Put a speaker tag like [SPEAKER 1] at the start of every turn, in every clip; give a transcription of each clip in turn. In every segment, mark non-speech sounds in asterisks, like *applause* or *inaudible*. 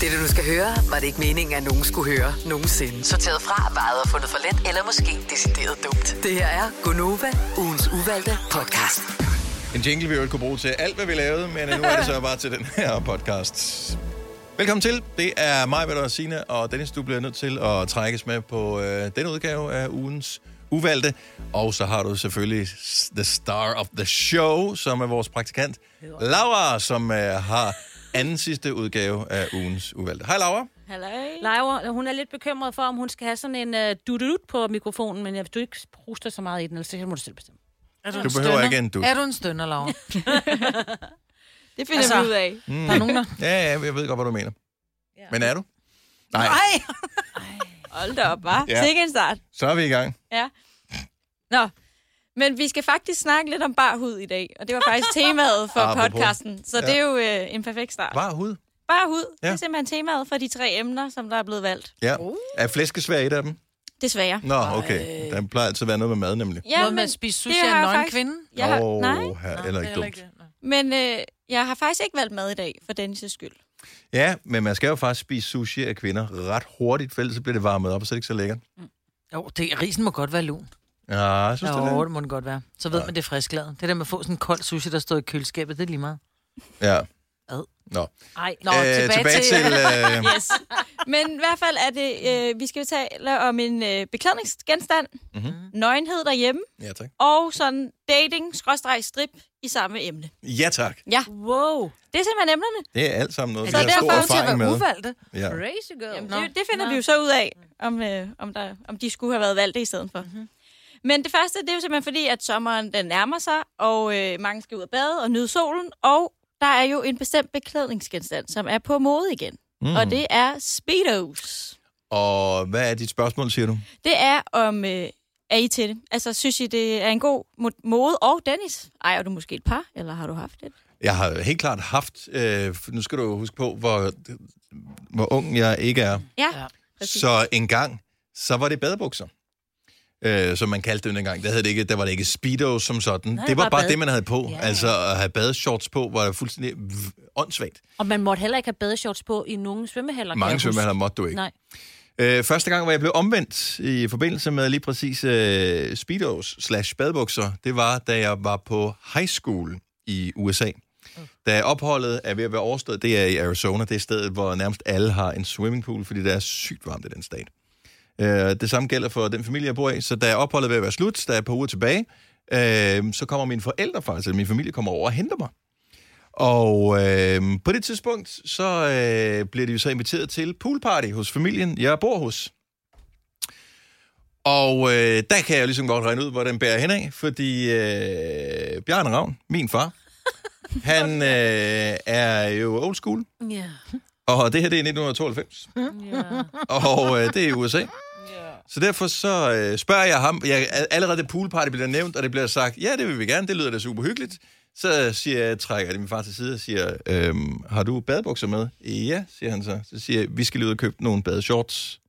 [SPEAKER 1] Det, du skal høre, var det ikke meningen, at nogen skulle høre nogensinde.
[SPEAKER 2] Sorteret fra, vejet og fundet for let, eller måske decideret dumt.
[SPEAKER 1] Det her er Gonova, ugens uvalgte podcast.
[SPEAKER 3] En jingle, vi jo ikke kunne bruge til alt, hvad vi lavede, men nu er det så bare til den her podcast. Velkommen til. Det er mig, Peter og Signe, og Dennis, du bliver nødt til at trækkes med på øh, den udgave af ugens uvalgte. Og så har du selvfølgelig s- the star of the show, som er vores praktikant, Laura, som øh, har anden sidste udgave af ugens uvalgte. Hej, Laura.
[SPEAKER 4] Laura, hun er lidt bekymret for, om hun skal have sådan en uh, dududut på mikrofonen, men hvis du ikke ruster så meget i den, ellers så må du selv bestemme.
[SPEAKER 5] Er
[SPEAKER 3] Du
[SPEAKER 5] en
[SPEAKER 3] behøver
[SPEAKER 5] stønner?
[SPEAKER 3] ikke en dut.
[SPEAKER 5] Er du en stønner, Laura?
[SPEAKER 6] Det finder altså,
[SPEAKER 5] Altså-
[SPEAKER 6] vi ud af.
[SPEAKER 3] Mm.
[SPEAKER 5] Der er nogen, der...
[SPEAKER 3] Ja, ja, jeg ved godt, hvad du mener. Men er du? Nej.
[SPEAKER 5] Ej!
[SPEAKER 6] Hold da op, hva'?
[SPEAKER 3] Ja.
[SPEAKER 6] Ja. Sikke en start.
[SPEAKER 3] Så er vi i gang.
[SPEAKER 6] Ja. Nå, men vi skal faktisk snakke lidt om bar hud i dag, og det var
[SPEAKER 5] *laughs*
[SPEAKER 6] faktisk temaet for
[SPEAKER 3] Apropos.
[SPEAKER 6] podcasten, så
[SPEAKER 3] Ja.
[SPEAKER 6] ja. det er jo øh, en perfekt start.
[SPEAKER 3] Bare hud.
[SPEAKER 6] Bar hud, ja. det
[SPEAKER 3] Ja.
[SPEAKER 6] er simpelthen temaet for de tre emner, som der er blevet valgt.
[SPEAKER 3] Ja.
[SPEAKER 5] Oh.
[SPEAKER 3] Er flæskesvær et af dem?
[SPEAKER 6] Desværre.
[SPEAKER 3] Nå, okay.
[SPEAKER 6] øh,
[SPEAKER 3] Der plejer altid at være noget med mad, nemlig.
[SPEAKER 6] Ja,
[SPEAKER 5] Noget med
[SPEAKER 6] men,
[SPEAKER 5] at spise sushi
[SPEAKER 6] det
[SPEAKER 5] af
[SPEAKER 6] har
[SPEAKER 5] en
[SPEAKER 6] jeg
[SPEAKER 5] nøgen
[SPEAKER 6] faktisk-
[SPEAKER 5] kvinde?
[SPEAKER 6] jeg har, nej,
[SPEAKER 3] her, eller ikke dumt.
[SPEAKER 6] men øh, jeg har faktisk ikke valgt mad i dag, for Dennis' skyld.
[SPEAKER 3] Ja, men man skal jo faktisk spise sushi af kvinder ret hurtigt, for ellers så bliver det varmet op, og så er det ikke så lækkert.
[SPEAKER 5] Jo, det, risen må godt være lun.
[SPEAKER 3] Ja, jeg synes det
[SPEAKER 5] Jo,
[SPEAKER 3] er
[SPEAKER 5] det må den godt være. Så ved man, det er frisklavet. Det der med at få sådan en kold sushi, der står i køleskabet, det er lige meget.
[SPEAKER 3] det. Ja.
[SPEAKER 5] Ad.
[SPEAKER 3] Nå,
[SPEAKER 5] Ej, Nå,
[SPEAKER 3] øh, tilbage,
[SPEAKER 4] *laughs*
[SPEAKER 3] til... øh,
[SPEAKER 5] *laughs*
[SPEAKER 6] Yes. Men i hvert fald er det, øh, vi skal jo tale om en øh, beklædningsgenstand,
[SPEAKER 3] Mhm.
[SPEAKER 6] mm-hmm. nøgenhed derhjemme,
[SPEAKER 3] ja, tak.
[SPEAKER 6] og sådan dating-strip i samme emne.
[SPEAKER 3] Ja, tak.
[SPEAKER 4] Wow,
[SPEAKER 6] Det er simpelthen emnerne.
[SPEAKER 3] Det er alt sammen noget,
[SPEAKER 6] Så
[SPEAKER 3] vi har
[SPEAKER 6] derfor
[SPEAKER 3] stor
[SPEAKER 6] er vi til at
[SPEAKER 3] erfaring med.
[SPEAKER 5] uvalgte.
[SPEAKER 3] Ja.
[SPEAKER 4] crazy girl.
[SPEAKER 6] Jamen,
[SPEAKER 5] Nå.
[SPEAKER 6] det, det finder Nå. vi jo så ud af, om, øh, om, der, om de skulle have været valgt i stedet for. Mm-hmm. Men det første, det er jo simpelthen fordi, at sommeren den nærmer sig, og øh, mange skal ud og bade og nyde solen, og der er jo en bestemt beklædningsgenstand, som er på mode igen. Mm. Og det er Speedos.
[SPEAKER 3] Og hvad er dit spørgsmål, siger du?
[SPEAKER 6] Det er om... Øh, er I til det? Altså, synes I, det er en god mo- mode? Og Dennis, ejer du måske et par, eller har du haft et?
[SPEAKER 3] Jeg har helt klart haft... Øh, nu skal du jo huske på, hvor, hvor ung jeg ikke er.
[SPEAKER 6] Ja,
[SPEAKER 5] Ja.
[SPEAKER 6] ja. præcis.
[SPEAKER 3] Så en gang, så var det badebukser. Øh, som man kaldte det dengang. Der, havde det ikke, der var det ikke speedo som sådan. Nej, det var bare,
[SPEAKER 4] bare
[SPEAKER 3] bare
[SPEAKER 4] bad.
[SPEAKER 3] det, man havde på. Ja.
[SPEAKER 4] Ja.
[SPEAKER 3] Altså at have badeshorts på, var fuldstændig v- åndssvagt.
[SPEAKER 4] Og man måtte heller ikke have badeshorts på i nogen svømmehaller. kan jeg
[SPEAKER 3] Mange
[SPEAKER 4] huske.
[SPEAKER 3] svømmehaller måtte du ikke.
[SPEAKER 4] Nej.
[SPEAKER 3] Øh, første gang, hvor jeg blev omvendt i forbindelse med lige præcis øh, speedos slash badebukser, det var, da jeg var på high school i USA. Da opholdet er ved at være overstået, det er i Arizona, det er stedet, hvor nærmest alle har en swimmingpool, fordi det er sygt varmt i den stat. Øh, det samme gælder for den familie, jeg bor i, så da opholdet er ved at være slut, der er et par uger tilbage, øh, så kommer mine forældre faktisk, eller min familie kommer over og henter mig. Og øh, på det tidspunkt, så øh, bliver de jo så inviteret til poolparty hos familien, jeg bor hos. Og øh, der kan jeg jo ligesom godt regne ud, hvor den bærer henad, fordi øh, Bjarne Ravn, min far, han øh, er jo old school,
[SPEAKER 4] Ja.
[SPEAKER 3] og det her det er 1992,
[SPEAKER 4] ja.
[SPEAKER 3] og øh, det er i USA. Så derfor så øh, spørger jeg ham, jeg, allerede poolparty bliver nævnt, og det bliver sagt, ja, det vil vi gerne, det lyder da super hyggeligt. Så siger jeg, trækker jeg det min far til side og siger, øhm, har du badebukser med? Ja, siger han så. Så siger jeg, vi skal lige ud og købe nogle badeshorts.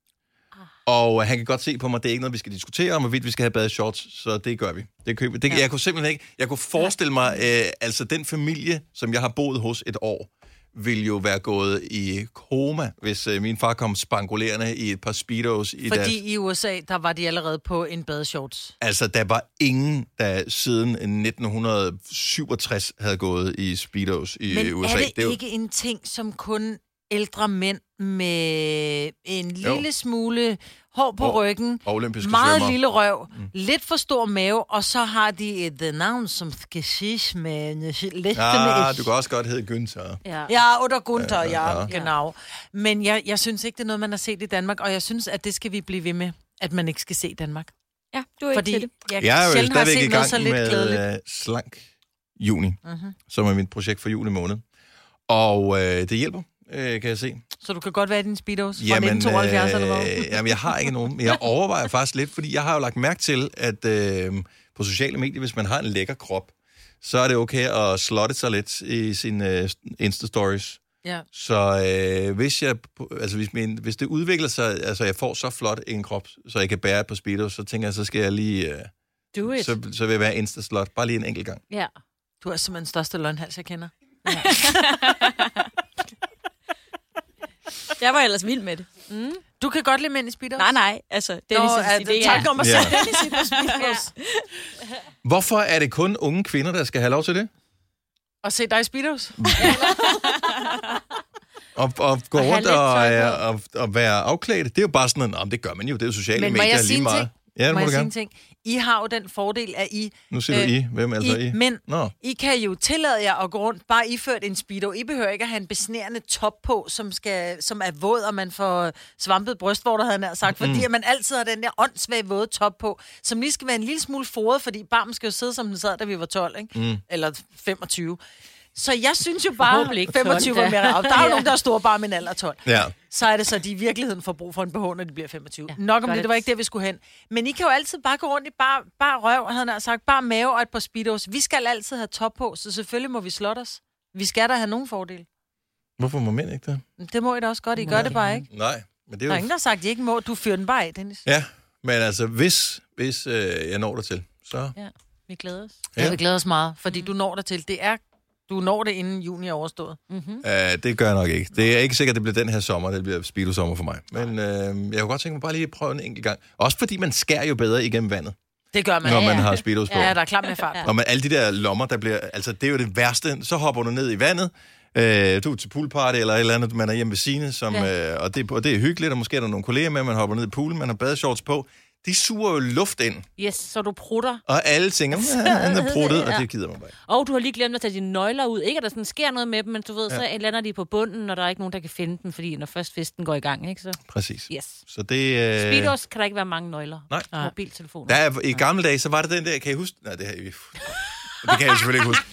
[SPEAKER 3] Og øh, han kan godt se på mig, det er ikke noget, vi skal diskutere om, hvorvidt vi skal have badeshorts, så det gør vi. Det køber. Det, Jeg kunne simpelthen ikke, jeg kunne forestille mig, øh, altså den familie, som jeg har boet hos et år, ville jo være gået i koma, hvis øh, min far kom spangulerende i et par speedos i deres...
[SPEAKER 5] Fordi i USA, der var de allerede på en badeshorts.
[SPEAKER 3] Altså, der var ingen, der siden 1967 havde gået i Speedos i
[SPEAKER 5] Men
[SPEAKER 3] USA.
[SPEAKER 5] er det,
[SPEAKER 3] er jo-
[SPEAKER 5] ikke en ting, som kun ældre mænd med en
[SPEAKER 3] Jo.
[SPEAKER 5] lille smule hår på
[SPEAKER 3] Og-
[SPEAKER 5] ryggen,
[SPEAKER 3] og olympiske
[SPEAKER 5] meget
[SPEAKER 3] svømmere.
[SPEAKER 5] lille røv, mm. lidt for stor mave, og så har de et øh, navn, som skal siges med øh, lidt
[SPEAKER 3] Ah, du kan også godt hedde Günther.
[SPEAKER 4] ja.
[SPEAKER 5] Ja, oder Gunther,
[SPEAKER 3] Ja,
[SPEAKER 5] ja,
[SPEAKER 3] ja,
[SPEAKER 5] ja,
[SPEAKER 3] ja.
[SPEAKER 5] genau. Men jeg, jeg synes ikke, det er noget, man har set i Danmark, og jeg synes, at det skal vi blive ved med, at man ikke skal se i Danmark.
[SPEAKER 6] ja du er Fordi...
[SPEAKER 5] Fordi
[SPEAKER 6] ikke til det.
[SPEAKER 5] jeg,
[SPEAKER 3] Jeg er jo
[SPEAKER 5] sjældent har
[SPEAKER 3] stadigvæk i
[SPEAKER 5] set noget
[SPEAKER 3] gang
[SPEAKER 5] så lidt glædeligt. Mhm.
[SPEAKER 3] med uh, Slank Juni, uh-huh. som er mit projekt for juli måned. Og uh, det hjælper, uh, kan jeg se.
[SPEAKER 5] Så du kan godt være i din speedos fra 1972 eller hvad?
[SPEAKER 3] øh, jamen, jeg har ikke nogen, men jeg overvejer faktisk lidt, fordi jeg har jo lagt mærke til, at øh, på sociale medier, hvis man har en lækker krop, så er det okay at slotte sig lidt i sine øh, Insta-stories.
[SPEAKER 5] Ja.
[SPEAKER 3] Så øh, hvis, jeg, altså, hvis, min, hvis det udvikler sig, altså jeg får så flot en krop, så jeg kan bære på speedos, så tænker jeg, så skal jeg lige, øh,
[SPEAKER 4] Do it.
[SPEAKER 3] så, så vil jeg være Insta-slot, bare lige en enkelt gang.
[SPEAKER 4] Ja.
[SPEAKER 5] Du er simpelthen den største løgnhals, jeg kender.
[SPEAKER 6] Jeg var ellers vild med det.
[SPEAKER 5] Du kan godt lide mænd i speedos.
[SPEAKER 6] Nej, nej, altså Dennis'
[SPEAKER 5] Nå,
[SPEAKER 6] idé
[SPEAKER 5] det
[SPEAKER 6] er...
[SPEAKER 5] tanken om at
[SPEAKER 3] Ja.
[SPEAKER 5] sætte Dennis i på speedos.
[SPEAKER 3] Hvorfor er det kun unge kvinder, der skal have lov til det?
[SPEAKER 5] Og se dig i speedos.
[SPEAKER 3] Og, og gå
[SPEAKER 4] have
[SPEAKER 3] rundt
[SPEAKER 4] lidt
[SPEAKER 3] og,
[SPEAKER 4] tøj på.
[SPEAKER 3] og, og, og være afklædt. Det er jo bare sådan, at det gør man jo. Det er jo sociale
[SPEAKER 5] Men må
[SPEAKER 3] medier
[SPEAKER 5] jeg sige
[SPEAKER 3] lige
[SPEAKER 5] en
[SPEAKER 3] meget.
[SPEAKER 5] ting?
[SPEAKER 3] Ja, det må,
[SPEAKER 5] Må jeg
[SPEAKER 3] du
[SPEAKER 5] sige en
[SPEAKER 3] gerne.
[SPEAKER 5] ting? I har jo den fordel, at I...
[SPEAKER 3] Nu siger du
[SPEAKER 5] øh,
[SPEAKER 3] I. Hvem er så Altså, I?
[SPEAKER 5] Men
[SPEAKER 3] Nå.
[SPEAKER 5] I kan jo tillade jer at gå rundt bare iført en speedo. I behøver ikke at have en besnærende top på, som, skal, som er våd, og man får svampet bryst, hvor der havde jeg nær sagt.
[SPEAKER 4] Mm-hmm.
[SPEAKER 5] Fordi mm. at man altid har den der åndssvage våde top på, som lige skal være en lille smule foret, fordi barmen skal jo sidde, som den sad, da vi var 12, ikke? Mm. eller 25. Så jeg synes jo bare,
[SPEAKER 4] Forhåbentlig ikke
[SPEAKER 5] 25 var
[SPEAKER 4] 12,
[SPEAKER 5] mere
[SPEAKER 4] da.
[SPEAKER 5] op. Der er jo nogen, der er store bare min alder 12
[SPEAKER 3] Ja.
[SPEAKER 5] så er det så, at de i virkeligheden får brug for en BH, når de bliver 25. Ja, Nok om
[SPEAKER 4] godt.
[SPEAKER 5] det, det var ikke det, vi skulle hen. Men I kan jo altid bare gå rundt i bare, bare røv, havde jeg nær sagt, bare mave og et par speedos. Vi skal altid have top på, så selvfølgelig må vi slåtte os. Vi skal da have nogen fordel.
[SPEAKER 3] Hvorfor må mænd ikke det?
[SPEAKER 5] Det må I da også godt, I gør det bare ikke.
[SPEAKER 3] Nej, men det
[SPEAKER 5] Der er
[SPEAKER 3] er jo...
[SPEAKER 5] ingen, der har sagt, at I ikke må. Du fyrer den bare af, Dennis.
[SPEAKER 3] Ja, men altså, hvis, hvis øh, jeg når dig til, så...
[SPEAKER 4] Ja, vi glæder os.
[SPEAKER 3] Ja.
[SPEAKER 5] Ja. Jeg glæder os meget, fordi du når dig til. Det er, du når det, inden juni er overstået.
[SPEAKER 3] Øh, det gør jeg nok ikke. Det er ikke sikkert, det bliver den her sommer, det bliver speedo-sommer for mig. Men øh, jeg kunne godt tænke mig bare lige at prøve en enkelt gang. Også fordi man skærer jo bedre igennem vandet,
[SPEAKER 5] Det gør man.
[SPEAKER 3] når
[SPEAKER 5] ja.
[SPEAKER 3] man har speedos på.
[SPEAKER 5] ja, der er klam med fart. Ja.
[SPEAKER 3] Når man alle de der lommer, der bliver... Altså, det er jo det værste. Så hopper du ned i vandet. Øh, du er til poolparty eller et eller andet, man er hjemme ved sine, som, ja. øh, og, det, og det er hyggeligt, og måske er der nogle kolleger med, man hopper ned i poolen, man har badeshorts på. De suger jo luft ind,
[SPEAKER 4] Yes, så du prutter.
[SPEAKER 3] og alle tænker, "Mm, han er pruttet, og det gider man bare ikke.
[SPEAKER 4] Og du har lige glemt at tage dine nøgler ud. Ikke at der sådan sker noget med dem, men du ved, ja. så lander de på bunden, og der er ikke nogen, der kan finde dem, fordi når først festen går i gang, ikke så?
[SPEAKER 3] Præcis.
[SPEAKER 4] Yes.
[SPEAKER 3] Så det... Øh,
[SPEAKER 4] Speedos kan der ikke være mange nøgler.
[SPEAKER 3] Nej.
[SPEAKER 4] Mobiltelefoner.
[SPEAKER 3] Der er, I gamle dage, så var det den der, kan I huske? Nej, det, her, det kan jeg selvfølgelig ikke huske.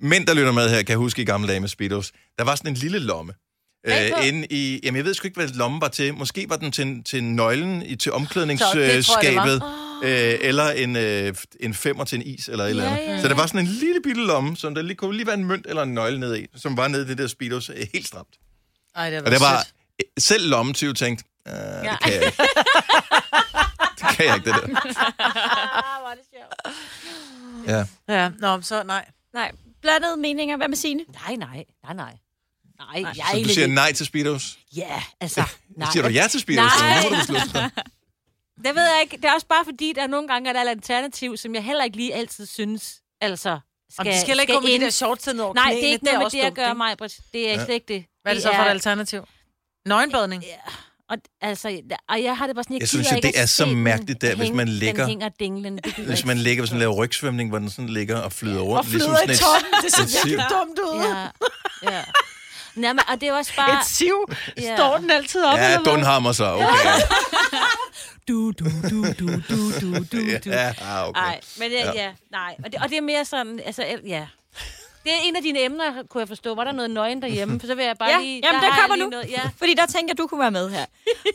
[SPEAKER 3] Mænd, der lytter med her, kan huske i gamle dage med Speedos. Der var sådan en lille lomme. Øh,
[SPEAKER 4] Bagpå?
[SPEAKER 3] inde i, jamen jeg ved sgu ikke, hvad lommen var til. Måske var den til, til nøglen i, til
[SPEAKER 5] Så det tror jeg, det var. Ah.
[SPEAKER 3] omklædningsskabet. Øh, eller en, øh, en femmer til en is, eller et eller andet.
[SPEAKER 4] Ja, ja,
[SPEAKER 3] Så der var sådan en lille bitte lomme, som der lige, kunne lige være en mønt eller en nøgle ned i, som var nede i det der Speedos øh, helt stramt.
[SPEAKER 5] Ej, det
[SPEAKER 3] Og det
[SPEAKER 5] var
[SPEAKER 3] var
[SPEAKER 5] sødt.
[SPEAKER 3] selv lommetyv tænkt, øh, det kan jeg ikke. det kan jeg ikke, det der. Ja.
[SPEAKER 5] Ja, nå, så nej.
[SPEAKER 6] Nej, blandede meninger. Hvad med sine?
[SPEAKER 4] Nej, nej, nej, nej. Nej, jeg er
[SPEAKER 3] Så du
[SPEAKER 4] egentlig
[SPEAKER 3] siger
[SPEAKER 4] ikke-
[SPEAKER 3] nej til Speedos?
[SPEAKER 4] Ja, altså, nej.
[SPEAKER 3] *laughs* Siger du ja til Speedos?
[SPEAKER 4] Nej.
[SPEAKER 3] Nej. Nu må du beslutte dig.
[SPEAKER 4] Det ved jeg ikke. Det er også bare fordi, der nogle gange er der et alternativ, som jeg heller ikke lige altid synes, altså, skal,
[SPEAKER 5] Om de skal heller ikke gå med de
[SPEAKER 4] ind.
[SPEAKER 5] der shorts til over
[SPEAKER 4] Nej,
[SPEAKER 5] knæene,
[SPEAKER 4] det er ikke noget med
[SPEAKER 5] også
[SPEAKER 4] det, jeg
[SPEAKER 5] dumt,
[SPEAKER 4] gør
[SPEAKER 5] ikke?
[SPEAKER 4] mig, Britt. Det er ja. slet ikke det.
[SPEAKER 5] Hvad er det så for et alternativ? Nøgenbadning?
[SPEAKER 4] Og, altså, og jeg har det bare sådan, jeg,
[SPEAKER 3] Jeg synes
[SPEAKER 4] gider
[SPEAKER 3] jo,
[SPEAKER 4] ikke
[SPEAKER 3] det
[SPEAKER 4] at
[SPEAKER 3] er så
[SPEAKER 4] se den
[SPEAKER 3] mærkeligt der, hvis
[SPEAKER 4] hænge-
[SPEAKER 3] man ligger-
[SPEAKER 4] Den hænger dinglen. Det gider
[SPEAKER 3] Hvis
[SPEAKER 4] jeg
[SPEAKER 3] man
[SPEAKER 4] ikke.
[SPEAKER 3] ligger ved sådan en rygsvømning, hvor den sådan ligger og flyder rundt.
[SPEAKER 5] Og
[SPEAKER 3] ligesom
[SPEAKER 5] flyder i
[SPEAKER 3] sådan
[SPEAKER 5] toppen. Det
[SPEAKER 3] et
[SPEAKER 5] ser virkelig
[SPEAKER 3] siv.
[SPEAKER 5] dumt ud.
[SPEAKER 3] *laughs*
[SPEAKER 4] Ja, ja. Nej, men, og det er også bare...
[SPEAKER 5] Et siv.
[SPEAKER 4] Ja.
[SPEAKER 5] Står den altid op?
[SPEAKER 3] Ja,
[SPEAKER 5] eller hvad?
[SPEAKER 3] dunhammer så. Okay.
[SPEAKER 4] Du, du, du, du, du, du, du, du.
[SPEAKER 3] Ja, ah, okay.
[SPEAKER 4] Nej, men ja, ja, nej. Og det, og det er mere sådan, altså, el- ja. Det er en af dine emner, kunne jeg forstå. Var der noget nøgen derhjemme? For så vil jeg bare
[SPEAKER 6] Ja,
[SPEAKER 4] lige...
[SPEAKER 6] jamen,
[SPEAKER 4] der
[SPEAKER 6] det
[SPEAKER 4] har jeg
[SPEAKER 6] kommer
[SPEAKER 4] lige
[SPEAKER 6] nu.
[SPEAKER 4] Noget, ja.
[SPEAKER 6] Fordi der tænker jeg, du kunne være med her.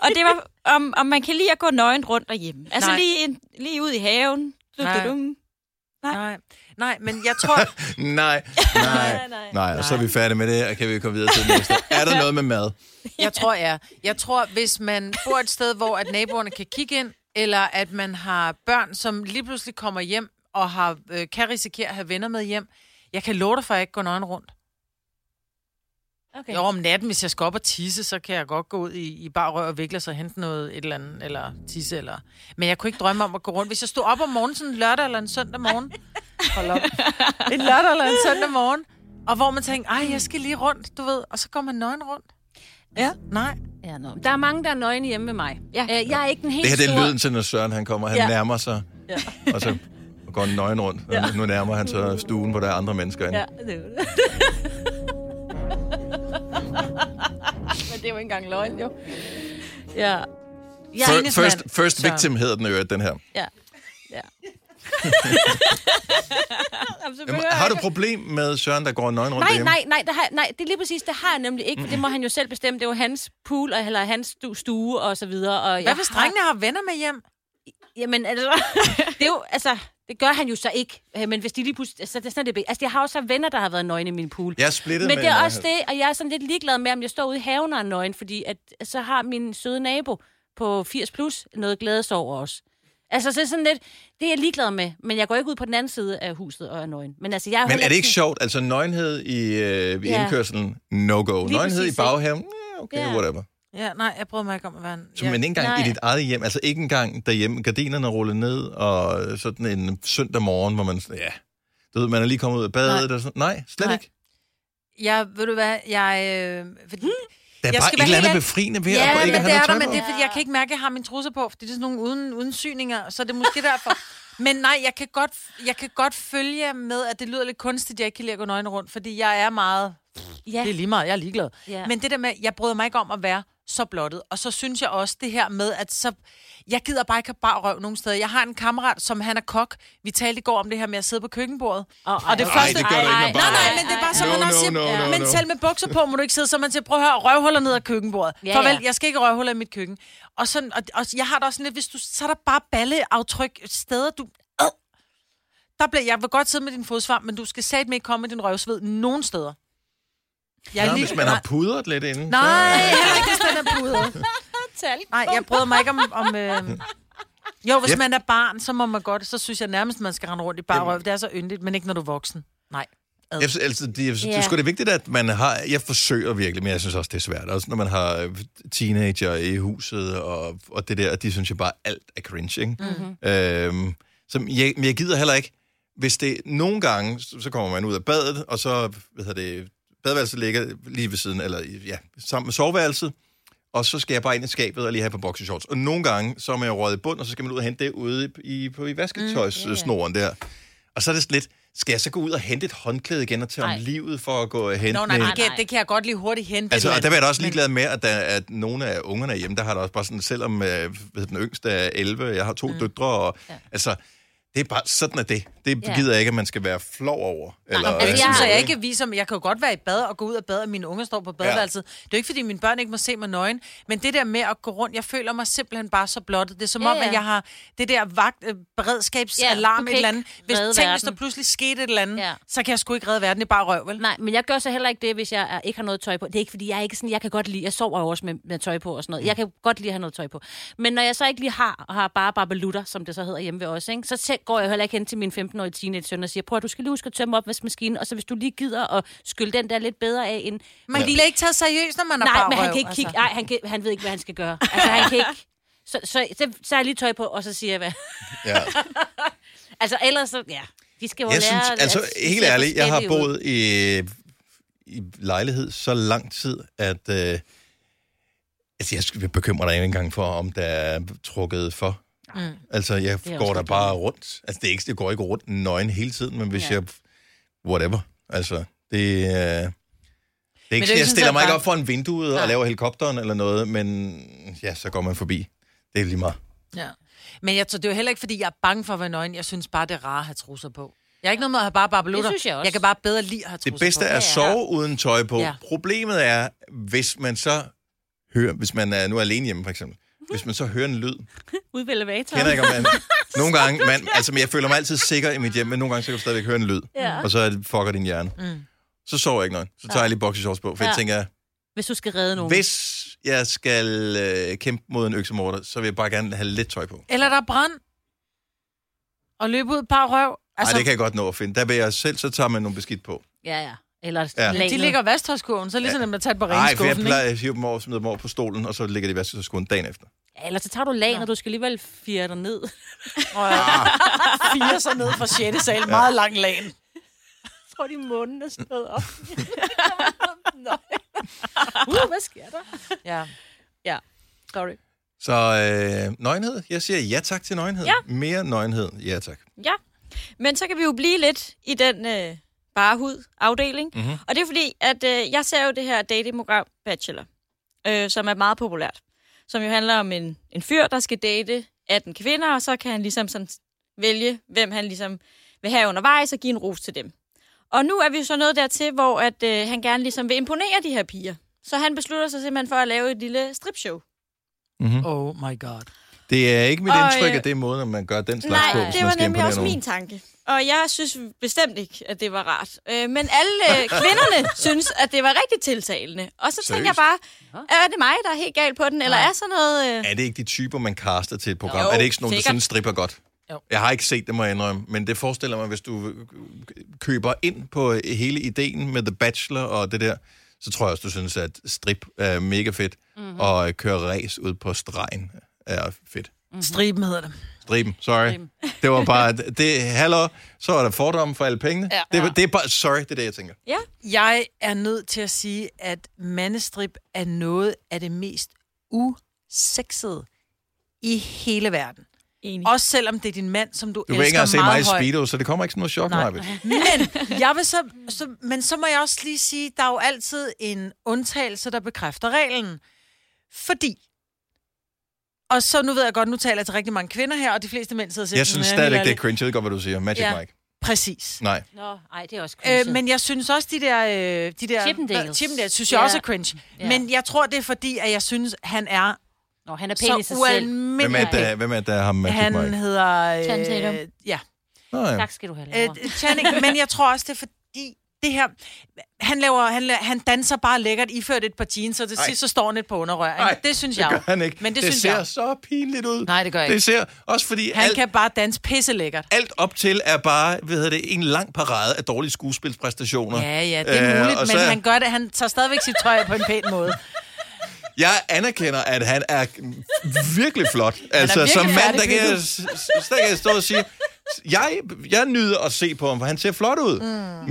[SPEAKER 6] Og det var, om, om man kan lide at gå nøgen rundt derhjemme. Altså
[SPEAKER 5] Nej.
[SPEAKER 6] lige, ind, lige ud i haven. Du,
[SPEAKER 5] Nej.
[SPEAKER 6] du, du.
[SPEAKER 5] Nej. Nej, men jeg tror...
[SPEAKER 3] Nej, nej,
[SPEAKER 4] nej.
[SPEAKER 3] nej. Og så er vi færdige med det, og kan vi komme videre til det næste. Er der noget med mad?
[SPEAKER 5] Jeg tror, ja. Jeg tror, hvis man bor et sted, hvor at naboerne kan kigge ind, eller at man har børn, som lige pludselig kommer hjem og har, øh, kan risikere at have venner med hjem, jeg kan love dig for, at jeg ikke går nøgen rundt.
[SPEAKER 4] Okay.
[SPEAKER 5] Jo, om natten, hvis jeg skal op og tisse, så kan jeg godt gå ud i, i bar rør og vikle og hente noget et eller andet, eller tisse, eller... Men jeg kunne ikke drømme om at gå rundt. Hvis jeg stod op om morgenen sådan en lørdag eller en søndag morgen... Hold op. En lørdag eller en søndag morgen, og hvor man tænker, ej, jeg skal lige rundt, du ved, og så går man nøgen rundt. Ja. Nej.
[SPEAKER 4] Ja, no. Der er mange, der er nøgne hjemme med mig.
[SPEAKER 6] Ja.
[SPEAKER 4] Øh, jeg er ikke den helt
[SPEAKER 3] Det her det
[SPEAKER 4] store...
[SPEAKER 3] er lyden til, når Søren han kommer, han ja.
[SPEAKER 4] Ja.
[SPEAKER 3] nærmer sig, ja. *laughs* og så går en nøgen rundt. Ja. Nu nærmer han så stuen, hvor der er andre mennesker
[SPEAKER 4] *laughs*
[SPEAKER 3] inde. Ja.
[SPEAKER 4] Ja, det er det.
[SPEAKER 6] Men det er jo ikke engang løgn, jo.
[SPEAKER 4] Ja. Jeg er
[SPEAKER 3] First,
[SPEAKER 4] enesmand.
[SPEAKER 3] first, first victim hedder den jo, den her.
[SPEAKER 4] Ja. ja. *laughs*
[SPEAKER 3] Jamen,
[SPEAKER 4] Jamen, så behøver
[SPEAKER 3] har
[SPEAKER 4] jeg
[SPEAKER 3] du
[SPEAKER 4] ikke
[SPEAKER 3] et problem med Søren, der går nøgen rundt
[SPEAKER 4] Nej,
[SPEAKER 3] derhjemme?
[SPEAKER 4] nej, nej, det har, jeg- nej, det er lige præcis, det har jeg nemlig ikke, for det må han jo selv bestemme. Det er jo hans pool, og, eller hans stu- stue, og så videre. Og
[SPEAKER 5] Hvad hvis drengene har venner med hjem?
[SPEAKER 4] Jamen, altså, *laughs* det er jo, altså, det gør han jo så ikke. Øh, Men hvis de lige pludselig, altså, det er sådan, det, er- altså, jeg har også haft venner, der har været nøgne i min pool.
[SPEAKER 3] Jeg er splittet
[SPEAKER 4] Men
[SPEAKER 3] med
[SPEAKER 4] det er
[SPEAKER 3] en-
[SPEAKER 4] også det, og jeg er sådan lidt ligeglad med, om jeg står ude i haven og er nøgen, fordi at, så har min søde nabo på 80 plus noget glædes over os. Altså, så er det sådan lidt, det er jeg ligeglad med, men jeg går ikke ud på den anden side af huset og er nøgen. Men, altså, jeg
[SPEAKER 3] Men
[SPEAKER 4] heller
[SPEAKER 3] er det ikke
[SPEAKER 4] sådan-
[SPEAKER 3] sjovt? Altså, nøgenhed i, øh, i
[SPEAKER 4] Ja.
[SPEAKER 3] indkørselen, no-go.
[SPEAKER 4] Lige
[SPEAKER 3] Nøgenhed i
[SPEAKER 4] præcis,
[SPEAKER 3] baghaven, ja, okay,
[SPEAKER 4] Ja.
[SPEAKER 3] whatever.
[SPEAKER 5] Ja, nej, jeg prøvede mig ikke om at være en...
[SPEAKER 3] Så, men ikke engang
[SPEAKER 4] Nej.
[SPEAKER 3] i dit eget hjem, altså ikke engang derhjemme, gardinerne rullet ned, og sådan en søndag morgen, hvor man, sådan, ja, du ved, man er lige kommet ud af badet, nej. og sådan, nej, slet nej.
[SPEAKER 5] Nej.
[SPEAKER 3] ikke.
[SPEAKER 5] Jeg, ved du hvad, jeg... Øh, fordi,
[SPEAKER 3] Der er
[SPEAKER 5] Jeg
[SPEAKER 3] bare
[SPEAKER 5] skal
[SPEAKER 3] et
[SPEAKER 5] være
[SPEAKER 3] eller andet
[SPEAKER 5] helt-
[SPEAKER 3] befriende ved
[SPEAKER 5] ja,
[SPEAKER 3] at
[SPEAKER 5] men
[SPEAKER 3] ikke
[SPEAKER 5] det
[SPEAKER 3] have
[SPEAKER 5] er
[SPEAKER 3] noget
[SPEAKER 5] der,
[SPEAKER 3] tøj
[SPEAKER 5] men det
[SPEAKER 3] på.
[SPEAKER 5] er, fordi jeg kan ikke mærke, at jeg har mine trusser på, fordi det er sådan nogle uden, uden syninger, så det er måske
[SPEAKER 3] *laughs*
[SPEAKER 5] derfor. Men nej, jeg kan, godt, jeg kan godt følge jer med, at det lyder lidt kunstigt, at jeg ikke kan lide at gå nøgne rundt, fordi jeg er meget...
[SPEAKER 4] Ja.
[SPEAKER 5] Det er lige meget, jeg er ligeglad.
[SPEAKER 4] Ja.
[SPEAKER 5] Men det der med, jeg bryder mig ikke om at være så blottet. Og så synes jeg også det her med, at så, jeg gider bare ikke have bare røv nogen steder. Jeg har en kammerat, som han er kok. Vi talte i går om det her med at sidde på køkkenbordet.
[SPEAKER 4] Åh, ej,
[SPEAKER 5] og det
[SPEAKER 4] ej,
[SPEAKER 5] første...
[SPEAKER 3] det gør du ikke med bare
[SPEAKER 5] nej, nej,
[SPEAKER 3] røv.
[SPEAKER 5] men det er bare som
[SPEAKER 3] No,
[SPEAKER 5] man også
[SPEAKER 3] no,
[SPEAKER 5] siger,
[SPEAKER 3] no, no,
[SPEAKER 5] men
[SPEAKER 3] no.
[SPEAKER 5] selv *laughs* med bukser på må du ikke sidde, så man siger, prøv at høre, røvhuller ned ad køkkenbordet.
[SPEAKER 4] Ja,
[SPEAKER 5] Ja, Farvel,
[SPEAKER 4] ja.
[SPEAKER 5] jeg skal ikke have røvhuller i mit køkken. Og, sådan, og, og jeg har det også sådan lidt, hvis du, så er der bare balleaftryk steder, du... *clears throat* Ad. Der bliver, jeg vil godt sidde med din fodsvamp, men du skal satme ikke komme med din røvsved nogen steder. Jeg
[SPEAKER 3] Ja,
[SPEAKER 5] lige-
[SPEAKER 3] hvis man har pudret lidt inden.
[SPEAKER 5] Nej, heller ikke, hvis den er pudret.
[SPEAKER 6] Talg.
[SPEAKER 5] Nej, jeg bryder mig ikke om... om øh... Jo, hvis
[SPEAKER 3] Yep.
[SPEAKER 5] yep. man er barn, så må man godt. Så synes jeg nærmest, man skal rende rundt i bare røv. Det er så yndigt, men ikke når du er voksen. Nej.
[SPEAKER 3] Jeg synes, altså, det, jeg synes, det er
[SPEAKER 4] Ja.
[SPEAKER 3] sgu det er vigtigt, at man har... Jeg forsøger virkelig, men jeg synes også, det er svært. Også når man har øh, teenager i huset, og, og det der, de synes jeg bare, alt er cringe, ikke?
[SPEAKER 5] Mhm.
[SPEAKER 3] Mm-hmm. Øhm, som jeg, men jeg gider heller ikke, hvis det nogle gange, så så kommer man ud af badet, og så, hvad hedder det, badeværelset ligger lige ved siden, eller i- ja, sammen med soveværelset, og så skal jeg bare ind i skabet og lige have på boxershorts. Og nogle gange, så er man jo røget i bund, og så skal man ud og hente det ude i, på, i
[SPEAKER 5] Mm,
[SPEAKER 3] vasketøjssnoren der. Og så er det sådan lidt, skal jeg så gå ud og hente et håndklæde igen og tage om
[SPEAKER 4] Nej.
[SPEAKER 3] livet for at gå og hente
[SPEAKER 5] Nå, nej,
[SPEAKER 3] et-
[SPEAKER 5] det kan, det kan jeg godt lige hurtigt hente.
[SPEAKER 3] Altså,
[SPEAKER 5] et
[SPEAKER 3] og
[SPEAKER 5] eller
[SPEAKER 3] der var jeg da
[SPEAKER 5] andet.
[SPEAKER 3] også ligeglad med, at, der, at nogle af ungerne hjemme, der har der også bare sådan, selvom øh, hvad, den yngste er 11, jeg har to mm. døtre, og ja. altså, det er bare, sådan er det. Det
[SPEAKER 4] Ja.
[SPEAKER 3] gider jeg ikke, at man skal være flov over. Eller,
[SPEAKER 5] Men, altså, jeg,
[SPEAKER 4] Ja.
[SPEAKER 5] så jeg ikke viser mig. Jeg kan jo godt være i bad og gå ud af bad, og mine unger står på badeværelset. Ja. Det er jo ikke, fordi mine børn ikke må se mig nøgen, men det der med at gå rundt, jeg føler mig simpelthen bare så blottet. Det er som
[SPEAKER 4] Ja,
[SPEAKER 5] om,
[SPEAKER 4] ja.
[SPEAKER 5] at jeg har det der vagt, øh,
[SPEAKER 4] Ja, du
[SPEAKER 5] beredskabsalarm,
[SPEAKER 4] kan
[SPEAKER 5] et
[SPEAKER 4] ikke
[SPEAKER 5] eller andet. Hvis,
[SPEAKER 4] redde
[SPEAKER 5] tænk, hvis der
[SPEAKER 4] verden.
[SPEAKER 5] pludselig skete et eller andet,
[SPEAKER 4] Ja.
[SPEAKER 5] ja. så kan jeg sgu ikke redde verden i bare røv, vel?
[SPEAKER 4] Nej, men jeg gør så heller ikke det, hvis jeg er, ikke har noget tøj på. Det er ikke, fordi jeg er ikke sådan, jeg kan godt lide, jeg sover jo også med, med tøj på og sådan noget.
[SPEAKER 3] Mm.
[SPEAKER 4] Jeg kan godt lide at have noget tøj på. Men når jeg så ikke lige har, og har bare barbelutter, som det så hedder hjemme ved os, ikke? så selv går jeg heller ikke hen til min 15-årige teenage søn og siger, prøv at du skal lige huske at tømme opvaskemaskinen, og så hvis du lige gider at skylle den der lidt bedre af end...
[SPEAKER 5] Man bliver ikke taget seriøst, når man er
[SPEAKER 4] Nej,
[SPEAKER 5] bare altså.
[SPEAKER 4] men han
[SPEAKER 5] røv,
[SPEAKER 4] kan ikke
[SPEAKER 3] altså.
[SPEAKER 4] kigge, nej, han, kan, han ved ikke, hvad han skal gøre. Altså, han kan ikke... Så, så, så, så er jeg lige tøj på, og så siger jeg, hvad...
[SPEAKER 3] ja.
[SPEAKER 4] Altså, ellers så, ja, de skal jo
[SPEAKER 3] Jeg
[SPEAKER 4] lære...
[SPEAKER 3] synes, altså
[SPEAKER 4] at-
[SPEAKER 3] helt
[SPEAKER 4] se
[SPEAKER 3] ærligt, jeg har
[SPEAKER 4] forskellige ud.
[SPEAKER 3] boet i, i lejlighed så lang tid, at øh, altså, jeg skal- jeg bekymrer dig ikke engang for, om der er trukket for. Mm. Altså, jeg
[SPEAKER 4] er også
[SPEAKER 3] går der
[SPEAKER 4] godt
[SPEAKER 3] bare rundt. Altså, det er ikke, jeg går ikke rundt nøgen hele tiden, men hvis
[SPEAKER 4] Ja.
[SPEAKER 3] ja. jeg... Whatever. Altså, det, øh, det er ikke, det,
[SPEAKER 5] jo ikke
[SPEAKER 3] jeg
[SPEAKER 4] ligesom
[SPEAKER 5] sådan,
[SPEAKER 3] stiller
[SPEAKER 5] at
[SPEAKER 3] mig ikke
[SPEAKER 5] bare-
[SPEAKER 3] op foran vinduet
[SPEAKER 5] Nej.
[SPEAKER 3] og laver helikopteren eller noget, men ja, så går man forbi. Det er lige meget.
[SPEAKER 5] Ja. Men jeg tror, det er jo heller ikke, fordi jeg er bange for at være nøgen. Jeg synes bare, det er rart at have trusser på. Jeg er ikke noget med at have bare barbelutter.
[SPEAKER 4] Det synes jeg også.
[SPEAKER 5] Jeg kan bare bedre lide at have trusser
[SPEAKER 3] Det bedste
[SPEAKER 5] på.
[SPEAKER 3] er at sove uden tøj på.
[SPEAKER 5] Ja.
[SPEAKER 3] Problemet er, hvis man så hører, hvis man er nu er alene hjemme for eksempel, hvis man så hører en lyd,
[SPEAKER 4] Ud ved elevatoren.
[SPEAKER 3] kender jeg ikke, om man... Nogle gange, man, altså men jeg føler mig altid sikker i mit hjem, men nogle gange så kan jeg stadigvæk høre en lyd,
[SPEAKER 4] Ja.
[SPEAKER 3] og så er det- fucker din hjerne. Mm. Så sover jeg ikke noget. Så tager jeg lige boxershorts på, for ja.
[SPEAKER 4] Ja.
[SPEAKER 3] jeg tænker,
[SPEAKER 4] Hvis du skal redde nogen.
[SPEAKER 3] hvis jeg skal øh, kæmpe mod en øksemorder, så vil jeg bare gerne have lidt tøj på. Altså,
[SPEAKER 5] Eller der er brand. Og løbe ud par røv. Altså,
[SPEAKER 3] Ej, det kan jeg godt nå at finde. Der vil jeg selv, så tager man nogle beskidt på.
[SPEAKER 4] Ja, ja. Eller
[SPEAKER 3] Ja.
[SPEAKER 4] ja.
[SPEAKER 3] De
[SPEAKER 5] De ligger i vasktøjskurven, så er det lige sådan, at man tager på
[SPEAKER 3] Nej, for jeg
[SPEAKER 5] regnskuffen,
[SPEAKER 3] plejer at hive dem over, smide dem over på stolen, og så ligger de i vaskeskuffen dagen efter.
[SPEAKER 4] ja. Eller så tager du lagen, og du skal alligevel fire dig *laughs* ned.
[SPEAKER 3] Ah.
[SPEAKER 5] Fire sig ned fra 6. sal, meget lang lagen.
[SPEAKER 4] Tror de munden er stået op. *laughs* uh, hvad sker der?
[SPEAKER 5] Ja.
[SPEAKER 4] Ja, sorry.
[SPEAKER 3] Så øh, nøgenhed. Jeg siger ja tak til nøgenhed. Ja. Mere nøgenhed. Ja tak.
[SPEAKER 6] Ja. Men så kan vi jo blive lidt i den øh, bare hud-afdeling. Mm-hmm. Og det er fordi, at øh, jeg ser jo det her datingprogram Bachelor, øh, som er meget populært. Som jo handler om en, en fyr, der skal date 18 kvinder, og så kan han ligesom sådan vælge, hvem han ligesom vil have undervejs og give en ros til dem. Og nu er vi jo så nået dertil, hvor at, øh, han gerne ligesom vil imponere de her piger. Så han beslutter sig simpelthen for at lave et lille stripshow.
[SPEAKER 3] Mm.
[SPEAKER 5] Oh my god.
[SPEAKER 3] Det er ikke mit
[SPEAKER 6] Og,
[SPEAKER 3] indtryk,
[SPEAKER 6] øh,
[SPEAKER 3] at det er måden, at man gør den slags på,
[SPEAKER 6] Nej,
[SPEAKER 3] hvis
[SPEAKER 6] det
[SPEAKER 3] man
[SPEAKER 6] var
[SPEAKER 3] skal
[SPEAKER 6] nemlig
[SPEAKER 3] imponere
[SPEAKER 6] også
[SPEAKER 3] nogen.
[SPEAKER 6] min tanke. Og jeg synes bestemt ikke, at det var rart. Øh, men alle øh,
[SPEAKER 3] *laughs*
[SPEAKER 6] kvinderne synes, at det var rigtig tiltalende. Og så tænker jeg
[SPEAKER 3] Seriøst?
[SPEAKER 6] bare, er det mig, der er helt galt på den? Eller er sådan noget... Øh...
[SPEAKER 3] Er det ikke de typer, man caster til et program?
[SPEAKER 6] Jo,
[SPEAKER 3] er det ikke sådan nogen, der
[SPEAKER 6] sikkert.
[SPEAKER 3] synes stripper godt?
[SPEAKER 5] Jo.
[SPEAKER 3] Jeg har ikke set det, må jeg indrømme, men det forestiller mig, hvis du øh, køber ind på øh, hele ideen med The Bachelor og det der, så tror jeg også, du synes, at strip er mega fedt. Mm.
[SPEAKER 6] Mhm.
[SPEAKER 3] mm-hmm. og øh, køre race ud på stregen er fedt.
[SPEAKER 5] Striben hedder det.
[SPEAKER 3] Striben, sorry.
[SPEAKER 5] *laughs*
[SPEAKER 3] Det var bare, det, hallo, så er der fordomme for alle pengene. Ja. Det, det er bare, sorry, det er det, jeg tænker.
[SPEAKER 6] Ja,
[SPEAKER 5] Jeg er nødt til at sige, at mandestrip er noget af det mest usexede i hele verden.
[SPEAKER 6] enig.
[SPEAKER 5] Også selvom det er din mand, som du,
[SPEAKER 3] Du kan
[SPEAKER 5] elsker
[SPEAKER 3] ikke engang se mig i
[SPEAKER 5] meget højt.
[SPEAKER 3] speedo, så det kommer ikke som noget chok,
[SPEAKER 5] Nej.
[SPEAKER 3] Nej.
[SPEAKER 5] *laughs* Men, jeg vil så, så, men så må jeg også lige sige, der er jo altid en undtagelse, der bekræfter reglen. Fordi, og så nu ved jeg godt, nu taler jeg til rigtig mange kvinder her, og de fleste mænd sidder og siger,
[SPEAKER 3] Jeg synes
[SPEAKER 5] "Næh,
[SPEAKER 3] stadigvæk,
[SPEAKER 5] helt
[SPEAKER 3] det er
[SPEAKER 5] ærligt."
[SPEAKER 3] cringe. Jeg ved godt, hvad du siger. Magic
[SPEAKER 5] Ja.
[SPEAKER 3] ja. Mike.
[SPEAKER 5] Præcis.
[SPEAKER 3] Nej.
[SPEAKER 4] Nå, ej, det er også
[SPEAKER 3] Mm.
[SPEAKER 5] Øh,
[SPEAKER 4] øh,
[SPEAKER 5] men jeg synes også, de der... Øh, de der
[SPEAKER 4] Chippendales.
[SPEAKER 5] Hvad, Chippendales synes jeg
[SPEAKER 4] Ja.
[SPEAKER 5] også er cringe.
[SPEAKER 4] Ja.
[SPEAKER 5] Men jeg tror, det er fordi, at jeg synes, han er
[SPEAKER 4] Nå, han er pæn i
[SPEAKER 5] så
[SPEAKER 4] sig selv.
[SPEAKER 3] Hvem er
[SPEAKER 5] ualmindelig...
[SPEAKER 3] det, der- hvem er det, der er ham Magic
[SPEAKER 5] Han
[SPEAKER 3] Mike?
[SPEAKER 5] hedder... Øh,
[SPEAKER 6] Channing Tatum.
[SPEAKER 5] Ja.
[SPEAKER 3] Nå, ja.
[SPEAKER 4] Tak skal du have,
[SPEAKER 5] Øh,
[SPEAKER 4] Laura.
[SPEAKER 5] Channing, men jeg tror også, det er fordi... Det her, han, laver, han, la- han danser bare lækkert, iført et par jeans, og til
[SPEAKER 3] Ej.
[SPEAKER 5] sidst så står han lidt på
[SPEAKER 3] Nej,
[SPEAKER 5] underrør. Ej, det synes
[SPEAKER 3] det
[SPEAKER 5] jeg
[SPEAKER 3] gør han ikke.
[SPEAKER 5] Men det,
[SPEAKER 3] det
[SPEAKER 5] synes
[SPEAKER 3] ser
[SPEAKER 5] jeg.
[SPEAKER 3] så pinligt ud.
[SPEAKER 5] Nej, det gør jeg
[SPEAKER 3] Det
[SPEAKER 5] ikke.
[SPEAKER 3] ser, også fordi
[SPEAKER 5] Han
[SPEAKER 3] alt,
[SPEAKER 5] kan bare danse pisse lækkert.
[SPEAKER 3] alt op til er bare, hvad hedder det, en lang parade af dårlige skuespilspræstationer. Øh,
[SPEAKER 5] Ja, ja, det er muligt,
[SPEAKER 3] og
[SPEAKER 5] men
[SPEAKER 3] så-
[SPEAKER 5] han gør det. Han tager stadigvæk sit tøj af på en pæn måde.
[SPEAKER 3] Jeg anerkender, at han er virkelig flot. Altså,
[SPEAKER 5] virkelig
[SPEAKER 3] som mand, der kan,
[SPEAKER 5] færdigpikket.
[SPEAKER 3] jeg s- s- der kan jeg stå og sige, jeg, jeg nyder at se på ham, for han ser flot ud. Mm.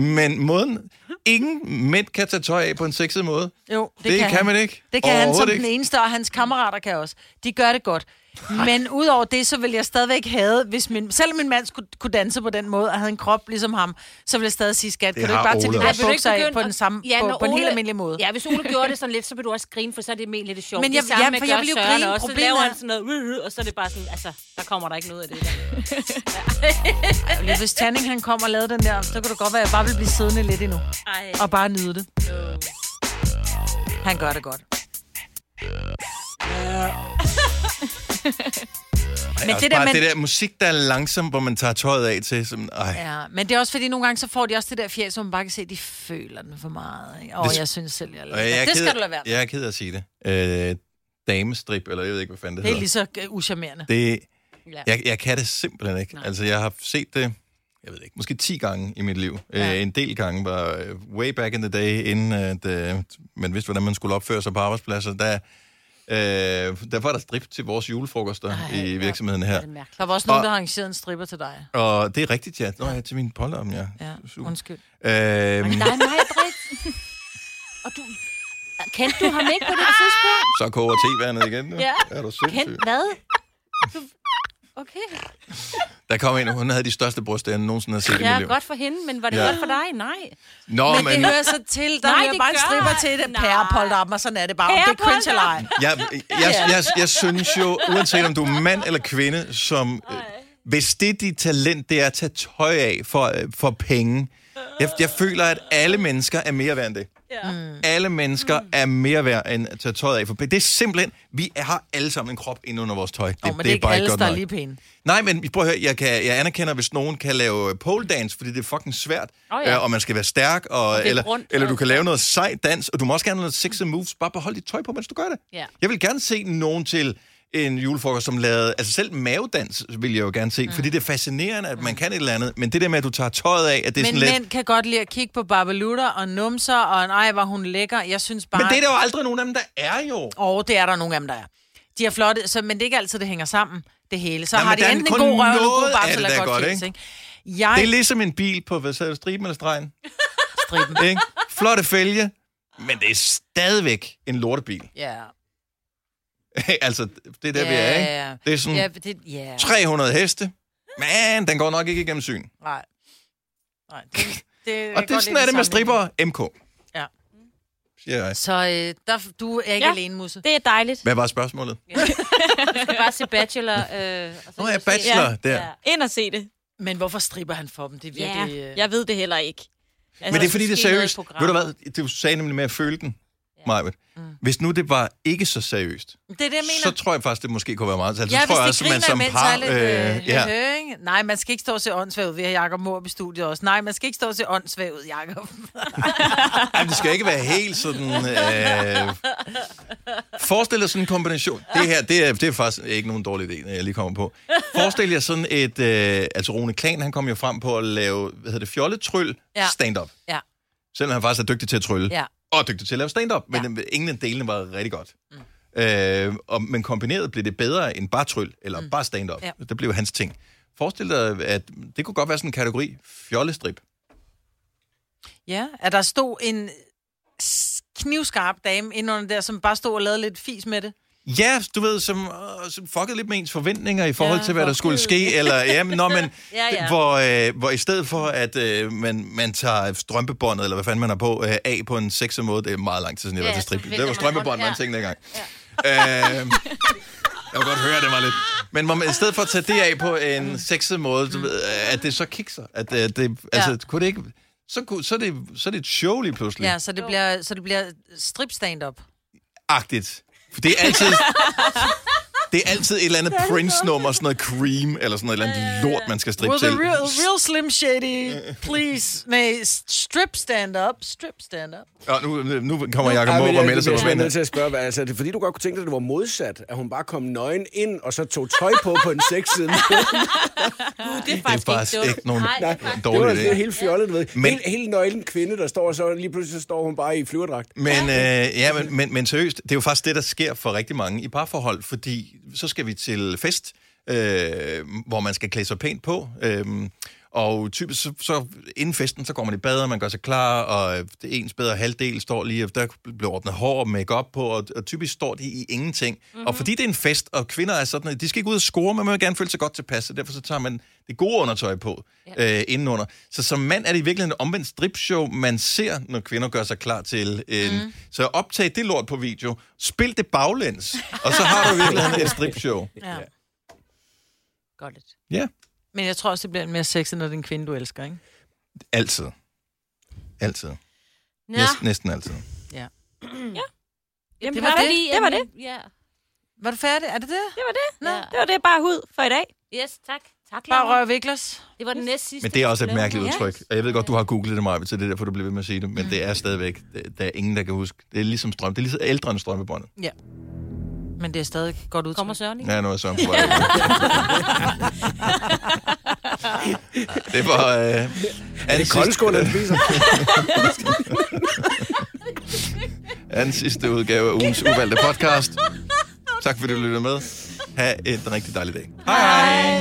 [SPEAKER 3] Men måden, ingen mænd kan tage tøj af på en sexet måde.
[SPEAKER 5] Jo, det,
[SPEAKER 3] Det
[SPEAKER 5] kan,
[SPEAKER 3] kan
[SPEAKER 5] han.
[SPEAKER 3] man ikke.
[SPEAKER 5] Det kan han som
[SPEAKER 3] Overhovedet
[SPEAKER 5] den
[SPEAKER 3] ikke.
[SPEAKER 5] eneste, og hans kammerater kan også. De gør det godt. Men udover det, så vil jeg stadigvæk have, hvis min, selvom min mand skulle, kunne danse på den måde, og havde en krop ligesom ham, så vil jeg stadig sige, skat, kan du
[SPEAKER 3] har
[SPEAKER 5] ikke bare tage
[SPEAKER 3] Ole
[SPEAKER 5] de
[SPEAKER 3] også.
[SPEAKER 5] der
[SPEAKER 4] du
[SPEAKER 5] bukser af
[SPEAKER 4] begynde
[SPEAKER 5] på
[SPEAKER 4] at-
[SPEAKER 5] den, samme, ja,
[SPEAKER 4] når
[SPEAKER 5] på, på en helt
[SPEAKER 4] Ole-
[SPEAKER 5] almindelig måde?
[SPEAKER 4] Ja, hvis Ole gjorde det sådan lidt, så vil du også grine, for så er det mere lidt sjovt.
[SPEAKER 5] Men
[SPEAKER 4] Men jeg,
[SPEAKER 5] jeg-
[SPEAKER 4] det samme,
[SPEAKER 5] ja,
[SPEAKER 4] man
[SPEAKER 5] for
[SPEAKER 4] gør
[SPEAKER 5] jeg vil jo
[SPEAKER 4] Søren
[SPEAKER 5] grine.
[SPEAKER 4] Også, så
[SPEAKER 5] Problemet
[SPEAKER 4] laver
[SPEAKER 5] er-
[SPEAKER 4] han sådan noget, "Uh, uh," og så er det bare sådan, altså, der kommer der ikke noget af det der.
[SPEAKER 5] Ja. Hvis Tanning han kommer og lavede den der, så kan du godt være, at jeg bare vil blive siddende lidt endnu.
[SPEAKER 4] Ej.
[SPEAKER 5] Og bare nyde det. Han gør det
[SPEAKER 3] *laughs*
[SPEAKER 5] godt.
[SPEAKER 3] Men
[SPEAKER 5] det
[SPEAKER 3] det,
[SPEAKER 5] der,
[SPEAKER 3] der, Altså, bare
[SPEAKER 5] man-
[SPEAKER 3] det der musik, der er langsom, hvor man tager tøjet af til. Som, ej.
[SPEAKER 5] Ja, men det er også fordi, nogle gange så får de også det der fjæs, hvor man bare kan se, at de føler den for meget. Ikke? Og
[SPEAKER 3] Det-
[SPEAKER 5] jeg synes selv, jeg er
[SPEAKER 3] Og jeg,
[SPEAKER 5] lidt-
[SPEAKER 3] er
[SPEAKER 5] Det
[SPEAKER 3] ked-
[SPEAKER 5] skal du lade være. med.
[SPEAKER 3] Jeg er ked af at sige det. Øh, damestrip, eller jeg ved ikke, hvad fanden det,
[SPEAKER 5] Det er
[SPEAKER 3] hedder.
[SPEAKER 5] lige så øh, ucharmerende.
[SPEAKER 3] Det,
[SPEAKER 4] Ja.
[SPEAKER 3] jeg, jeg kan det simpelthen ikke. Nej. Altså, jeg har set det, jeg ved ikke, måske 10 gange i mit liv. Ja. en del gange, var øh, way back in the day, inden at, øh, man vidste, hvordan man skulle opføre sig på arbejdspladser, der, øh, der var der strip til vores julefrokoster Ej, i virksomheden her.
[SPEAKER 4] Det er mærkeligt.
[SPEAKER 5] Der var også nogen,
[SPEAKER 3] Og-
[SPEAKER 5] der har arrangeret en stripper til dig.
[SPEAKER 3] Og det er rigtigt, ja. Nå, ja, til min pollarm, ja.
[SPEAKER 5] Ja,
[SPEAKER 3] Super.
[SPEAKER 5] undskyld.
[SPEAKER 3] Øhm,
[SPEAKER 4] Nej, nej, Britt. Og du... Kendte du ham ikke på det tidspunkt?
[SPEAKER 3] så koger tevandet igen. Nu.
[SPEAKER 4] Ja.
[SPEAKER 3] Er du
[SPEAKER 4] Kendt
[SPEAKER 3] sindssyg?
[SPEAKER 4] *laughs* hvad? Du... Okay.
[SPEAKER 3] Der kom en, og hun havde de største bryster, jeg nogensinde har set i
[SPEAKER 4] Ja,
[SPEAKER 3] mit liv.
[SPEAKER 4] godt for hende, men var det
[SPEAKER 3] Ja.
[SPEAKER 4] ja. godt for dig? Nej.
[SPEAKER 3] Nå, men,
[SPEAKER 5] Men det hører så til, der
[SPEAKER 4] Nej,
[SPEAKER 5] Nej, hører
[SPEAKER 4] det
[SPEAKER 5] bare en
[SPEAKER 4] gør
[SPEAKER 5] stripper
[SPEAKER 4] det.
[SPEAKER 5] til det.
[SPEAKER 4] Nej.
[SPEAKER 5] Pærepold op, og sådan er det bare. Om det er cringe eller ej.
[SPEAKER 3] jeg, jeg, jeg, jeg, jeg synes jo, uanset om du er mand eller kvinde, som... Øh, hvis det er dit talent, det er at tage tøj af for, øh, for penge. Jeg, jeg føler, at alle mennesker er mere værd end det. Ja.
[SPEAKER 5] Mm.
[SPEAKER 3] Alle mennesker er mere værd end at tage tøjet af for penge. Det er simpelthen... Vi har alle sammen en krop inde under vores tøj. Det,
[SPEAKER 5] Nå, men det, er ikke
[SPEAKER 3] bare
[SPEAKER 5] alle,
[SPEAKER 3] godt
[SPEAKER 5] der er
[SPEAKER 3] nok.
[SPEAKER 5] lige pæne.
[SPEAKER 3] Nej, men prøv at høre, jeg, kan, jeg anerkender, hvis nogen kan lave pole dance, fordi det er fucking svært, oh,
[SPEAKER 4] ja.
[SPEAKER 3] øh, og man skal være stærk, og, og
[SPEAKER 4] det er
[SPEAKER 3] eller,
[SPEAKER 4] rundt,
[SPEAKER 3] eller du
[SPEAKER 4] og-
[SPEAKER 3] kan lave noget sej dans, og du må også gerne have noget sexy moves, bare behold dit tøj på, mens du gør det.
[SPEAKER 4] Ja.
[SPEAKER 3] Jeg vil gerne se nogen til en julefrokost, som lavede, altså selv mavedans vil jeg jo gerne se, mm. fordi det er fascinerende, at man kan et eller andet, men det der med, at du tager tøjet af, at det er
[SPEAKER 5] Men
[SPEAKER 3] sådan lidt...
[SPEAKER 5] mænd kan godt lide at kigge på barbelutter og numser, og en ej, hvor hun lækker. Jeg synes bare...
[SPEAKER 3] Men det er der jo aldrig nogen af dem, der er jo.
[SPEAKER 5] Og det er der nogle af dem, der er. De er flotte, så, men det er ikke altid, det hænger sammen, det hele. Så
[SPEAKER 3] Nej,
[SPEAKER 5] har
[SPEAKER 3] men
[SPEAKER 5] de
[SPEAKER 3] der er
[SPEAKER 5] enten en
[SPEAKER 3] kun
[SPEAKER 5] god røv, eller en god
[SPEAKER 3] noget af
[SPEAKER 5] babs,
[SPEAKER 3] det,
[SPEAKER 5] eller
[SPEAKER 3] der er
[SPEAKER 5] et godt
[SPEAKER 3] godt,
[SPEAKER 5] fjes,
[SPEAKER 3] ikke?
[SPEAKER 5] ikke? Jeg
[SPEAKER 3] Det er ligesom en bil på, hvad sagde du, striben eller stregen?
[SPEAKER 5] striben.
[SPEAKER 3] Ikke? Flotte fælge, men det er stadigvæk en lortebil. *laughs*
[SPEAKER 5] Ja.
[SPEAKER 3] altså, det er der, vi
[SPEAKER 5] Ja,
[SPEAKER 3] er,
[SPEAKER 5] ja, ja.
[SPEAKER 3] ikke? Mm. Det er sådan
[SPEAKER 5] Ja, det, ja.
[SPEAKER 3] 300 heste. Men den går nok ikke igennem syn.
[SPEAKER 5] Nej. Nej. Det,
[SPEAKER 3] *laughs*
[SPEAKER 5] det, jeg
[SPEAKER 3] Og det er
[SPEAKER 5] kan godt lide
[SPEAKER 3] sådan, er det med
[SPEAKER 5] sammenligning.
[SPEAKER 3] stripper MK.
[SPEAKER 5] Ja.
[SPEAKER 3] Siger jeg.
[SPEAKER 5] Så øh, der, du er ikke ja.
[SPEAKER 6] Ja.
[SPEAKER 5] alene, Musse.
[SPEAKER 6] Det er dejligt.
[SPEAKER 3] Hvad var spørgsmålet?
[SPEAKER 4] Du skal bare se Bachelor. Øh, og så
[SPEAKER 3] Nå, jeg er bachelor der.
[SPEAKER 6] Ind og se det.
[SPEAKER 5] Men hvorfor stripper han for dem? Det er
[SPEAKER 6] Ja,
[SPEAKER 5] virkelig... øh,
[SPEAKER 6] jeg ved det heller ikke. Altså,
[SPEAKER 3] Men det er fordi, det er
[SPEAKER 5] Altså,
[SPEAKER 4] Måske noget i
[SPEAKER 3] seriøst. Ved du
[SPEAKER 4] programmet.
[SPEAKER 3] hvad? Du sagde nemlig med at føle den, Majbet. Hvis nu det var ikke så seriøst,
[SPEAKER 5] Det er det, Mm. jeg mener.
[SPEAKER 3] så tror jeg faktisk, det måske kunne være meget. Altså,
[SPEAKER 5] ja,
[SPEAKER 3] så tror jeg
[SPEAKER 5] hvis det griner
[SPEAKER 3] at
[SPEAKER 5] imens, så er lidt... Øh,
[SPEAKER 3] ja.
[SPEAKER 5] ja. ikke? Nej, man skal ikke stå og se åndssvag ud. Vi har Jacob Morup i studiet også. Nej, man skal ikke stå og se åndssvag ud, Jacob.
[SPEAKER 3] Jamen, det skal ikke være helt sådan... Øh... Forestil dig sådan en kombination. Det her, det er, det er faktisk ikke nogen dårlig idé, når jeg lige kommer på. Forestil jer sådan et... Øh... Altså, Rune Klan, han kom jo frem på at lave, hvad hedder det, fjolletryl
[SPEAKER 5] Ja.
[SPEAKER 3] stand-up.
[SPEAKER 5] Ja.
[SPEAKER 3] Selvom han faktisk er dygtig til at trylle.
[SPEAKER 5] Ja.
[SPEAKER 3] øh, Og dygtig til at lave stand-up. Men ja. ingen af delene var rigtig godt. Mm. Øh, og, men kombineret blev det bedre end bare tryl, eller mm. bare stand-up.
[SPEAKER 5] Ja.
[SPEAKER 3] Ja. Det blev hans ting. Forestil dig, at det kunne godt være sådan en kategori fjollestrip.
[SPEAKER 5] *laughs* Ja, at der stod en s- knivskarp dame inde under der, som bare stod og lavede lidt fis med det.
[SPEAKER 3] Ja, du ved, som, øh, som fuckede lidt med ens forventninger i forhold ja,
[SPEAKER 4] Ja,
[SPEAKER 3] til, hvad der skulle
[SPEAKER 4] fuckede. *laughs*
[SPEAKER 3] ske. Eller, ja, men, nå, men,
[SPEAKER 4] Ja, ja.
[SPEAKER 3] Hvor, øh, hvor i stedet for, at øh, man, man tager strømpebåndet, eller hvad fanden man har på, øh, af på en sexet måde, det er meget lang tid siden, jeg
[SPEAKER 4] Ja,
[SPEAKER 3] var til
[SPEAKER 4] så
[SPEAKER 3] strip.
[SPEAKER 4] vælter
[SPEAKER 3] Det var
[SPEAKER 4] man
[SPEAKER 3] strømpebånd,
[SPEAKER 4] rundt,
[SPEAKER 3] man
[SPEAKER 4] ja.
[SPEAKER 3] tænkte dengang. Ja. Øh, jeg kan godt høre, det var lidt. Men hvor man, i stedet for at tage det af på en sexet måde, du ved, at det så kikser. At, øh, det, altså, kunne det ikke... Så, kunne, så, er det, så er det et show lige pludselig.
[SPEAKER 5] Ja, så det bliver, så det bliver strip stand-up.
[SPEAKER 3] agtigt. For det er altid... det er altid et eller andet Prince-nummer, sådan noget Cream, eller sådan noget, et eller andet lort, man skal strippe
[SPEAKER 5] Will the
[SPEAKER 3] til.
[SPEAKER 5] real, real Slim *laughs* Shady, please? Nej, strip stand-up, strip stand-up.
[SPEAKER 3] Og nu, nu kommer Jacob
[SPEAKER 7] Ej, men
[SPEAKER 3] Måb og
[SPEAKER 7] jeg-
[SPEAKER 3] melder sig på
[SPEAKER 7] Jeg er nødt
[SPEAKER 3] spændende.
[SPEAKER 7] til at spørge, hvad, altså, er det fordi, du godt kunne tænke dig, at det var modsat, at hun bare kom nøgen ind, og så tog tøj på på en sexside? *laughs* det
[SPEAKER 4] det er
[SPEAKER 3] Det er
[SPEAKER 4] faktisk
[SPEAKER 3] faktisk
[SPEAKER 4] dumt.
[SPEAKER 3] ikke nogen
[SPEAKER 4] Nej, det er faktisk-
[SPEAKER 7] var,
[SPEAKER 3] dårlig
[SPEAKER 7] det var
[SPEAKER 3] idé.
[SPEAKER 7] helt fjollet, du ved.
[SPEAKER 3] Men-
[SPEAKER 7] Men... Hele, hele nøglen kvinde, der står, og så lige pludselig så står hun bare i flyverdragt.
[SPEAKER 3] Men, øh, ja, men, men, men seriøst, det er jo faktisk det, der sker for rigtig mange i parforhold, fordi så skal vi til fest, øh, hvor man skal klæde sig pænt på, øh, og typisk så, så inden festen, så går man i bad, og man gør sig klar, og øh, det ens bedre halvdel står lige, og der bliver ordnet hår og makeup på, og, og typisk står de i ingenting. Mm-hmm.
[SPEAKER 4] Mhm.
[SPEAKER 3] Og fordi det er en fest, og kvinder er sådan, de skal ikke ud og score, men man vil gerne føle sig godt tilpas, så derfor så tager man det gode undertøj på ja. øh, indenunder. Så som mand er det i virkeligheden en omvendt stripshow, man ser, når kvinder gør sig klar til en...
[SPEAKER 4] Mhm.
[SPEAKER 3] Mm. Så optag det lort på video, spil det baglæns, og så har du i virkeligheden et stripshow.
[SPEAKER 5] Ja.
[SPEAKER 4] Godt lidt.
[SPEAKER 3] Ja,
[SPEAKER 5] Men jeg tror også, det bliver mere sexet, når det er en kvinde, du elsker, ikke?
[SPEAKER 3] altid. Altid.
[SPEAKER 4] Nå,
[SPEAKER 3] Næsten, næsten altid.
[SPEAKER 6] Jamen,
[SPEAKER 4] det var
[SPEAKER 6] perfekt.
[SPEAKER 4] fordi,
[SPEAKER 6] det var
[SPEAKER 4] at-
[SPEAKER 6] det.
[SPEAKER 4] Ja.
[SPEAKER 5] Var du færdig? Er det det?
[SPEAKER 6] Det var det.
[SPEAKER 4] ja.
[SPEAKER 6] Det var det bare hud for i dag.
[SPEAKER 4] Yes, tak. Tak,
[SPEAKER 5] Bare
[SPEAKER 4] Laura.
[SPEAKER 5] rør viklers.
[SPEAKER 4] Det var den næst sidste.
[SPEAKER 3] Men det er også et
[SPEAKER 4] vi lavede.
[SPEAKER 3] mærkeligt
[SPEAKER 4] Ja. Mm.
[SPEAKER 3] udtryk. Og jeg ved godt, du har googlet det meget, så det er derfor, du bliver ved med at sige det. Men det er stadigvæk, det- der er ingen, der kan huske. Det er ligesom strøm. Det er ligesom ældre end strømpebåndet.
[SPEAKER 5] Men det er stadig et godt ud.
[SPEAKER 4] Kommer Søren ikke?
[SPEAKER 3] Ja, nu er Søren på vej. Det var... Øh, er
[SPEAKER 7] Det er koldskål, han spiser.
[SPEAKER 3] er den sidste udgave af ugens uvalgte podcast. Tak fordi du lyttede med. Ha' en rigtig dejlig dag. Hej hej.